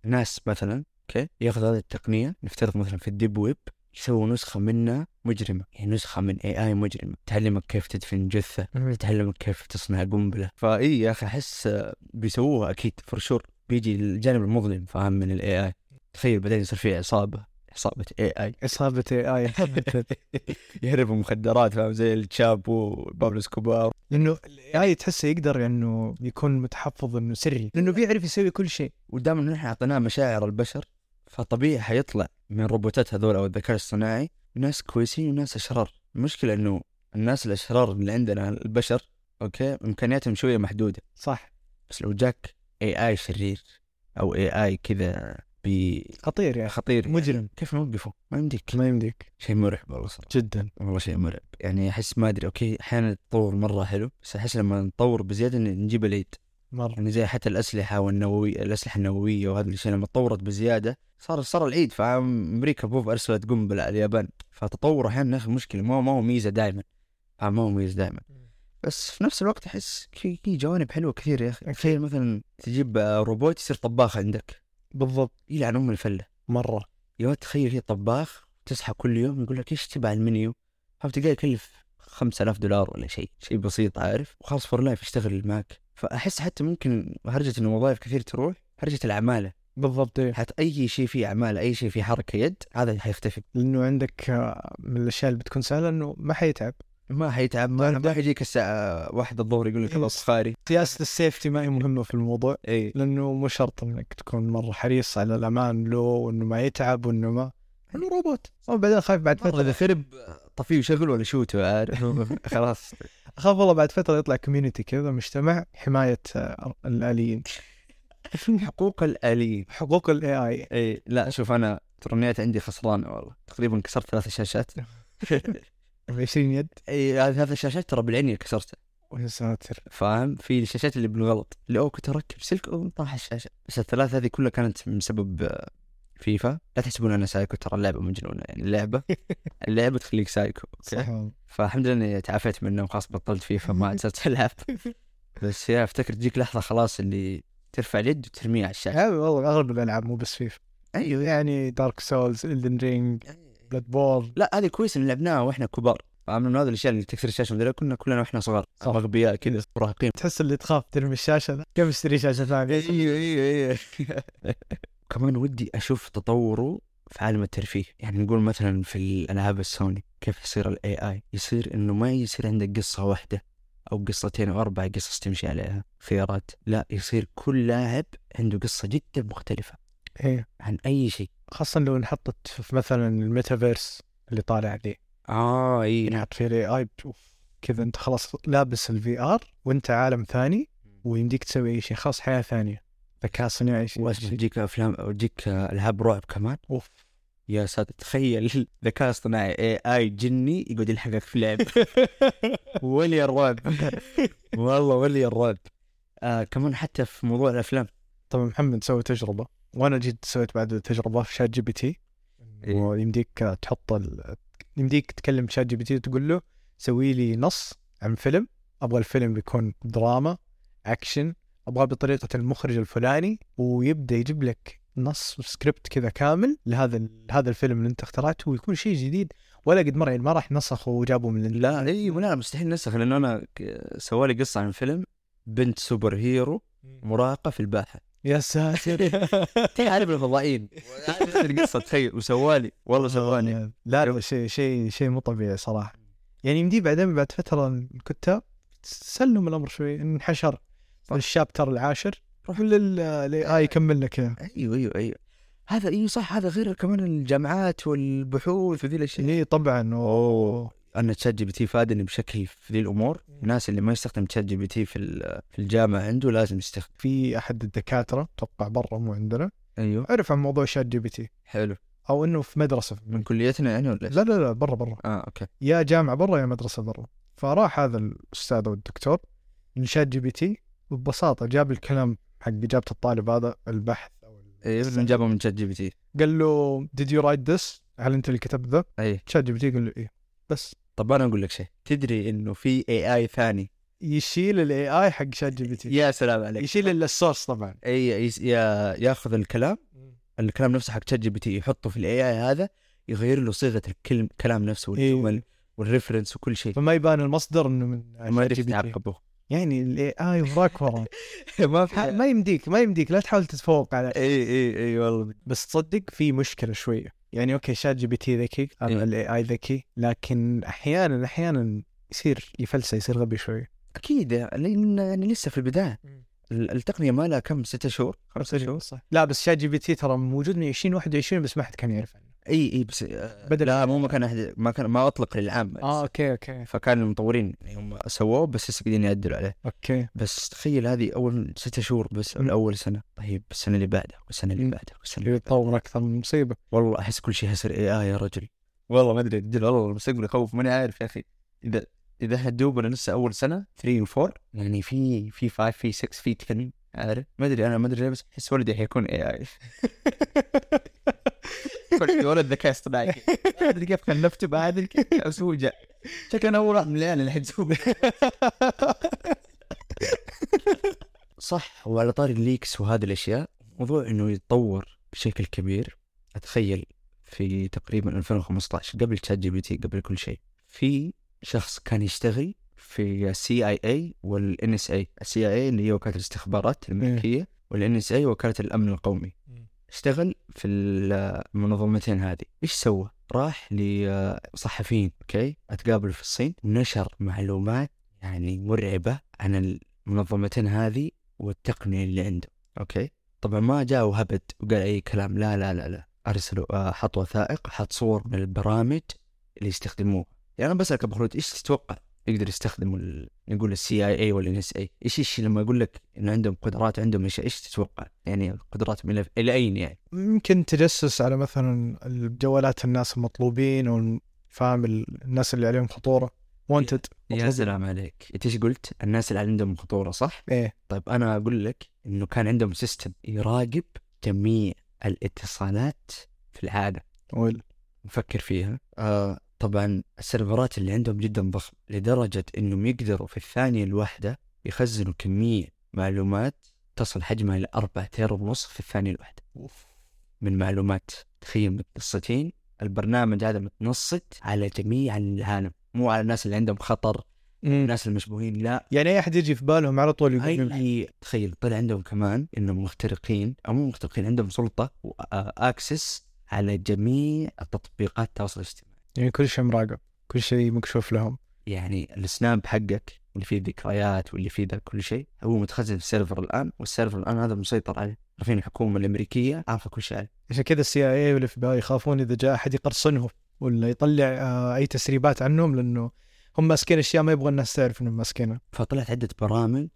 Speaker 1: الناس مثلا اوكي ياخذوا هذه التقنيه نفترض مثلا في الديب ويب يسووا نسخه منها مجرمه يعني نسخه من اي اي مجرمه تعلمك كيف تدفن جثه تعلمك كيف تصنع قنبله فاي يا اخي احس آه، بيسووها اكيد فرشور بيجي الجانب المظلم فاهم من الاي اي تخيل بعدين يصير في عصابه عصابه اي اي
Speaker 2: اصابه اي اي
Speaker 1: *laughs* يهربوا مخدرات فاهم زي التشابو وبابلو سكوبار
Speaker 2: لانه الاي تحسه يقدر انه يكون متحفظ انه سري لانه بيعرف يسوي كل شيء
Speaker 1: ودام ان احنا اعطيناه مشاعر البشر فطبيعي حيطلع من روبوتات هذول او الذكاء الصناعي ناس كويسين وناس اشرار المشكله انه الناس الاشرار اللي عندنا البشر اوكي امكانياتهم شويه محدوده
Speaker 2: صح
Speaker 1: بس لو جاك اي اي شرير او اي اي كذا بي
Speaker 2: خطير يا اخي
Speaker 1: خطير يعني
Speaker 2: مجرم
Speaker 1: كيف نوقفه؟ ما يمديك
Speaker 2: ما يمديك
Speaker 1: شيء مرعب والله صراحه
Speaker 2: جدا
Speaker 1: والله شيء مرعب يعني احس ما ادري اوكي احيانا التطور مره حلو بس احس لما نطور بزياده ن- نجيب العيد
Speaker 2: مره
Speaker 1: يعني زي حتى الاسلحه والنوويه الاسلحه النوويه وهذا الشيء لما تطورت بزياده صار صار العيد فاهم امريكا بوف ارسلت قنبله على اليابان فتطور احيانا يا اخي مشكله ما هو ما هو ميزه دائما فاهم ما هو ميزه دائما بس في نفس الوقت احس في في جوانب حلوه كثير يا اخي تخيل مثلا تجيب آه، روبوت يصير طباخ عندك
Speaker 2: بالضبط
Speaker 1: يلعن ام الفله
Speaker 2: مره
Speaker 1: يا ولد تخيل في طباخ تصحى كل يوم يقول لك ايش تبع المنيو؟ عرفت تلقاه يكلف 5000 دولار ولا شيء، شيء بسيط عارف وخلاص فور لايف يشتغل معك، فاحس حتى ممكن هرجة انه وظائف كثير تروح، هرجة العمالة،
Speaker 2: بالضبط إيه.
Speaker 1: حتى اي شيء فيه عمالة، اي شيء فيه حركة يد هذا حيختفي،
Speaker 2: لانه عندك آه، من الاشياء اللي بتكون سهله انه ما حيتعب
Speaker 1: ما حيتعب ما ما حيجيك الساعة واحدة الظهر يقول لك
Speaker 2: إيه.
Speaker 1: يلا صخاري،
Speaker 2: سياسه السيفتي ما هي مهمه في الموضوع
Speaker 1: اي
Speaker 2: لانه مو شرط انك تكون مره حريص على الامان له وانه ما يتعب وانه ما انه روبوت وبعدين خايف بعد فتره
Speaker 1: اذا
Speaker 2: *laughs*
Speaker 1: خرب طفيه وشغل ولا شوته عارف *laughs* خلاص
Speaker 2: اخاف والله بعد فتره يطلع كوميونتي كذا مجتمع حمايه آه، الاليين
Speaker 1: حقوق الآليين
Speaker 2: حقوق الاي اي
Speaker 1: اي إيه، لا شوف انا ترنيات عندي خسرانه والله تقريبا كسرت ثلاث شاشات
Speaker 2: 20 يد
Speaker 1: اي هذه ثلاث شاشات ترى بالعين اللي كسرتها
Speaker 2: ويا ساتر
Speaker 1: فاهم في الشاشات اللي بالغلط اللي او كنت اركب سلك وطاح الشاشه بس الثلاث هذه كلها كانت بسبب آه، فيفا لا تحسبون انا سايكو ترى اللعبه مجنونه يعني
Speaker 2: *laughs*
Speaker 1: اللعبه اللعبه تخليك سايكو
Speaker 2: صح
Speaker 1: اوكي
Speaker 2: والله.
Speaker 1: فالحمد لله اني تعافيت منه وخلاص بطلت فيفا ما عاد صرت *laughs* العب بس يا افتكر تجيك لحظه خلاص اللي ترفع اليد وترميها على الشاشه
Speaker 2: *laughs* هذا والله اغلب الالعاب مو بس فيفا
Speaker 1: ايوه
Speaker 2: يعني دارك سولز الدن رينج بلاد بورن
Speaker 1: لا هذه كويس ان لعبناها واحنا كبار فمن هذه الاشياء اللي تكسر الشاشه ومدري إيه، كنا كلنا واحنا صغار
Speaker 2: صح.
Speaker 1: مغبياء كذا مراهقين
Speaker 2: تحس اللي تخاف ترمي الشاشه ذا كيف اشتري شاشه ثانيه
Speaker 1: ايوه ايوه ايوه *laughs* كمان ودي اشوف تطوره في عالم الترفيه يعني نقول مثلا في الالعاب السوني كيف يصير الاي اي يصير انه ما يصير عندك قصه واحده او قصتين او اربع قصص تمشي عليها خيارات لا يصير كل لاعب عنده قصه جدا مختلفه
Speaker 2: إيه.
Speaker 1: عن اي شيء
Speaker 2: خاصه لو انحطت في مثلا الميتافيرس اللي طالع ذي
Speaker 1: اه اي
Speaker 2: ينحط فيه الاي اي كذا انت خلاص لابس الفي ار وانت عالم ثاني ويمديك تسوي اي شيء خلاص حياه ثانيه ذكاء صناعي شيء
Speaker 1: واسمع تجيك افلام او تجيك العاب رعب كمان
Speaker 2: *laughs* اوف
Speaker 1: يا ساتر تخيل *laughs* ذكاء اصطناعي اي اي جني يقعد يلحقك في لعب ولي الرعب
Speaker 2: *laughs*
Speaker 1: والله ولي الرعب آه كمان حتى في موضوع الافلام
Speaker 2: طبعا محمد سوى تجربه وانا جيت سويت بعد تجربه في شات جي بي تي
Speaker 1: إيه.
Speaker 2: ويمديك تحط ال... يمديك تكلم شات جي بي تي وتقول له سوي لي نص عن فيلم ابغى الفيلم يكون دراما اكشن ابغاه بطريقه المخرج الفلاني ويبدا يجيب لك نص وسكريبت كذا كامل لهذا هذا الفيلم اللي انت اخترعته ويكون شيء جديد ولا قد مر يعني ما راح نسخه وجابه من ال-
Speaker 1: لا اي لا مستحيل نسخ لانه انا ك- سوالي قصه عن فيلم بنت سوبر هيرو مراهقه في *laughs* الباحه
Speaker 2: يا ساتر
Speaker 1: تعرف الفضائيين عارف القصه تخيل وسوالي والله سواني
Speaker 2: لا لا شيء شيء شيء مو طبيعي صراحه يعني يمدي بعدين بعد فتره الكتاب سلم الامر شوي انحشر الشابتر العاشر روح للاي اي يكمل لك إياه.
Speaker 1: ايوه ايوه ايوه هذا ايوه صح هذا غير كمان الجامعات والبحوث وذي الاشياء
Speaker 2: اي طبعا اوه
Speaker 1: ان تشات جي بي تي فادني بشكل في ذي الامور الناس اللي ما يستخدم تشات جي بي تي في ال- في الجامعه عنده لازم يستخدم
Speaker 2: في احد الدكاتره اتوقع برا مو عندنا
Speaker 1: ايوه
Speaker 2: عرف عن موضوع شات جي بي تي
Speaker 1: حلو
Speaker 2: او انه في مدرسه
Speaker 1: من كليتنا يعني ولا إيش؟
Speaker 2: لا لا لا برا برا
Speaker 1: اه اوكي
Speaker 2: يا جامعه برا يا مدرسه برا فراح هذا الاستاذ او الدكتور لشات جي بي تي وببساطه جاب الكلام حق اجابه الطالب هذا البحث او
Speaker 1: ايوه من جابه من تشات جي بي تي
Speaker 2: قال له did you write this هل انت اللي كتبت ذا؟
Speaker 1: اي
Speaker 2: شات جي بي تي قال له ايه بس
Speaker 1: إيه. طب انا اقول لك شيء تدري انه في اي اي ثاني
Speaker 2: يشيل الاي اي حق شات جي بي تي
Speaker 1: يا سلام عليك
Speaker 2: يشيل ال- السورس طبعا
Speaker 1: اي يس- يا ياخذ الكلام الكلام نفسه حق تشات جي بي تي يحطه في الاي اي هذا يغير له صيغه الكلم كلام نفسه
Speaker 2: إيه.
Speaker 1: والجمل والريفرنس وكل شيء
Speaker 2: فما يبان المصدر انه من
Speaker 1: ما
Speaker 2: ChatGPT.
Speaker 1: يعرف يتعقبه
Speaker 2: يعني الاي اي وراك وراه
Speaker 1: *laughs* ما
Speaker 2: ح- ما يمديك ما يمديك لا تحاول تتفوق على
Speaker 1: اي اي اي إيه، والله
Speaker 2: بس تصدق في مشكله شويه يعني اوكي شات جي بي تي ذكي
Speaker 1: إيه.
Speaker 2: الاي اي ذكي لكن احيانا احيانا يصير يفلسه يصير غبي شويه
Speaker 1: اكيد لان يعني لسه في البدايه ال- التقنيه ما لها كم ستة شهور خمسة شهور
Speaker 2: صح لا بس شات جي بي تي ترى موجود من 2021 بس ما حد كان يعرف عنه
Speaker 1: اي اي بس آه،
Speaker 2: بدل-
Speaker 1: لا مو ما كان أحد- ما كان ما اطلق للعامه
Speaker 2: اه اوكي اوكي
Speaker 1: فكان المطورين يعني هم سووه بس لسه قاعدين يعدلوا عليه
Speaker 2: اوكي
Speaker 1: بس تخيل هذه اول ستة شهور بس
Speaker 2: مم.
Speaker 1: ولا اول سنه طيب السنه اللي بعدها والسنه اللي
Speaker 2: مم.
Speaker 1: بعدها والسنه اللي بعدها
Speaker 2: يتطور اكثر من مصيبه
Speaker 1: والله احس كل شيء يصير اي اي يا رجل والله ما ادري دل والله المستقبل يخوف ماني عارف يا اخي اذا اذا احنا دوبنا لسه اول سنه 3 و4 يعني في في 5 في 6 في 10 عارف ما ادري انا ما ادري ليه بس احس ولدي حيكون اي اي *laughs* كل ولد ذكاء اصطناعي ما ادري كيف خلفته ما ادري كيف بس هو جاء شكله انا اول واحد من العيال اللي حتزوج صح وعلى طاري الليكس وهذه الاشياء موضوع انه يتطور بشكل كبير اتخيل في تقريبا 2015 قبل تشات جي بي تي قبل كل شيء في شخص كان يشتغل في السي اي اي والان اس اي السي اي اي اللي هي وكاله الاستخبارات الامريكيه والان اس اي وكاله الامن القومي اشتغل في المنظمتين هذه ايش سوى راح لصحفيين اوكي اتقابل في الصين ونشر معلومات يعني مرعبه عن المنظمتين هذه والتقنيه اللي عنده اوكي طبعا ما جاء وهبد وقال اي كلام لا لا لا لا ارسلوا آه، حط وثائق حط صور من البرامج اللي يستخدموها يعني انا بسالك ابو خلود ايش تتوقع يقدر يستخدموا ال- نقول السي اي اي ولا ان اس اي ايش ايش لما اقول لك انه عندهم قدرات عندهم اشياء ايش تتوقع يعني قدراتهم الى الى اين يعني
Speaker 2: ممكن تجسس على مثلا جوالات الناس المطلوبين او فاهم ال- الناس اللي عليهم خطوره وانتد
Speaker 1: يا سلام عليك انت ايش قلت الناس اللي عندهم خطوره صح
Speaker 2: ايه
Speaker 1: طيب انا اقول لك انه كان عندهم سيستم يراقب جميع الاتصالات في العالم
Speaker 2: وال-
Speaker 1: نفكر فيها آه طبعا السيرفرات اللي عندهم جدا ضخم لدرجة انهم يقدروا في الثانية الواحدة يخزنوا كمية معلومات تصل حجمها إلى 4 تيرا ونص في الثانية الواحدة من معلومات تخيل متنصتين البرنامج هذا متنصت على جميع العالم مو على الناس اللي عندهم خطر
Speaker 2: مم.
Speaker 1: الناس المشبوهين لا
Speaker 2: يعني اي احد يجي في بالهم على طول يقول ممحي.
Speaker 1: هاي تخيل طلع عندهم كمان انهم مخترقين او مو مخترقين عندهم سلطه واكسس على جميع التطبيقات التواصل الاجتماعي
Speaker 2: يعني كل شيء مراقب كل شيء مكشوف لهم
Speaker 1: يعني السناب حقك اللي فيه ذكريات واللي فيه ذا كل شيء هو متخزن في سيرفر الان والسيرفر الان هذا مسيطر عليه عارفين الحكومه الامريكيه عارفه كل شيء عليه
Speaker 2: عشان كذا السي اي اي والاف بي اي يخافون اذا جاء احد يقرصنهم ولا يطلع آه، اي تسريبات عنهم لانه هم ماسكين اشياء ما يبغى الناس تعرف انهم ماسكينها
Speaker 1: فطلعت عده برامج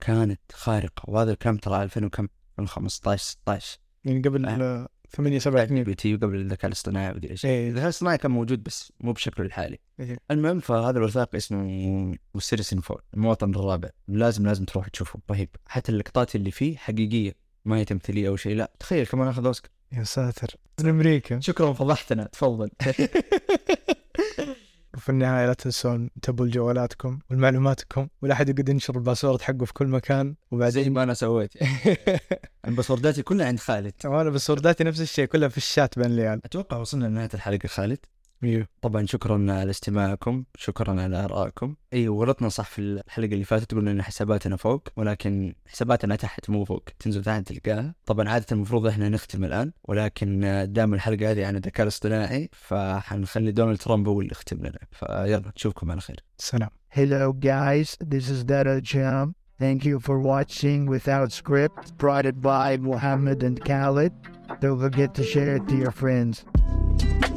Speaker 1: كانت خارقه وهذا الكلام ترى 2000 وكم 2015 16
Speaker 2: يعني قبل
Speaker 1: أه.
Speaker 2: آه. 8 7 سنين
Speaker 1: بي تي قبل الذكاء الاصطناعي ومدري ايش
Speaker 2: ايه
Speaker 1: الذكاء الاصطناعي كان موجود بس مو بشكله الحالي
Speaker 2: إيه.
Speaker 1: المهم فهذا الوثائقي اسمه سيرسن فول المواطن الرابع لازم لازم تروح تشوفه رهيب حتى اللقطات اللي فيه حقيقيه ما هي تمثيليه او شيء لا تخيل كمان اخذ اوسكار
Speaker 2: إيه، يا ساتر
Speaker 1: *laughs*
Speaker 2: من امريكا
Speaker 1: شكرا فضحتنا *laughs* تفضل
Speaker 2: وفي النهايه لا تنسون انتبهوا لجوالاتكم والمعلوماتكم ولا احد يقعد ينشر الباسورد حقه في كل مكان
Speaker 1: زي
Speaker 2: وبعدين
Speaker 1: ما انا سويت
Speaker 2: *laughs*
Speaker 1: الباسورداتي كلها عند خالد
Speaker 2: وانا باسورداتي نفس الشيء كلها في الشات بين العيال
Speaker 1: اتوقع وصلنا لنهايه الحلقه خالد
Speaker 2: ايوه
Speaker 1: طبعا شكرا على استماعكم شكرا على ارائكم اي ورطنا صح في الحلقه اللي فاتت قلنا ان حساباتنا فوق ولكن حساباتنا تحت مو فوق تنزل تحت تلقاها طبعا عاده المفروض احنا نختم الان ولكن دام الحلقه هذه عن الذكاء الاصطناعي فحنخلي دونالد ترامب هو اللي يختم لنا فيلا نشوفكم على خير
Speaker 2: سلام
Speaker 3: Hello, guys. This is Dada Jam. Thank you for watching Without Script, brought it by Mohammed and Khaled. Don't forget to share it to your friends.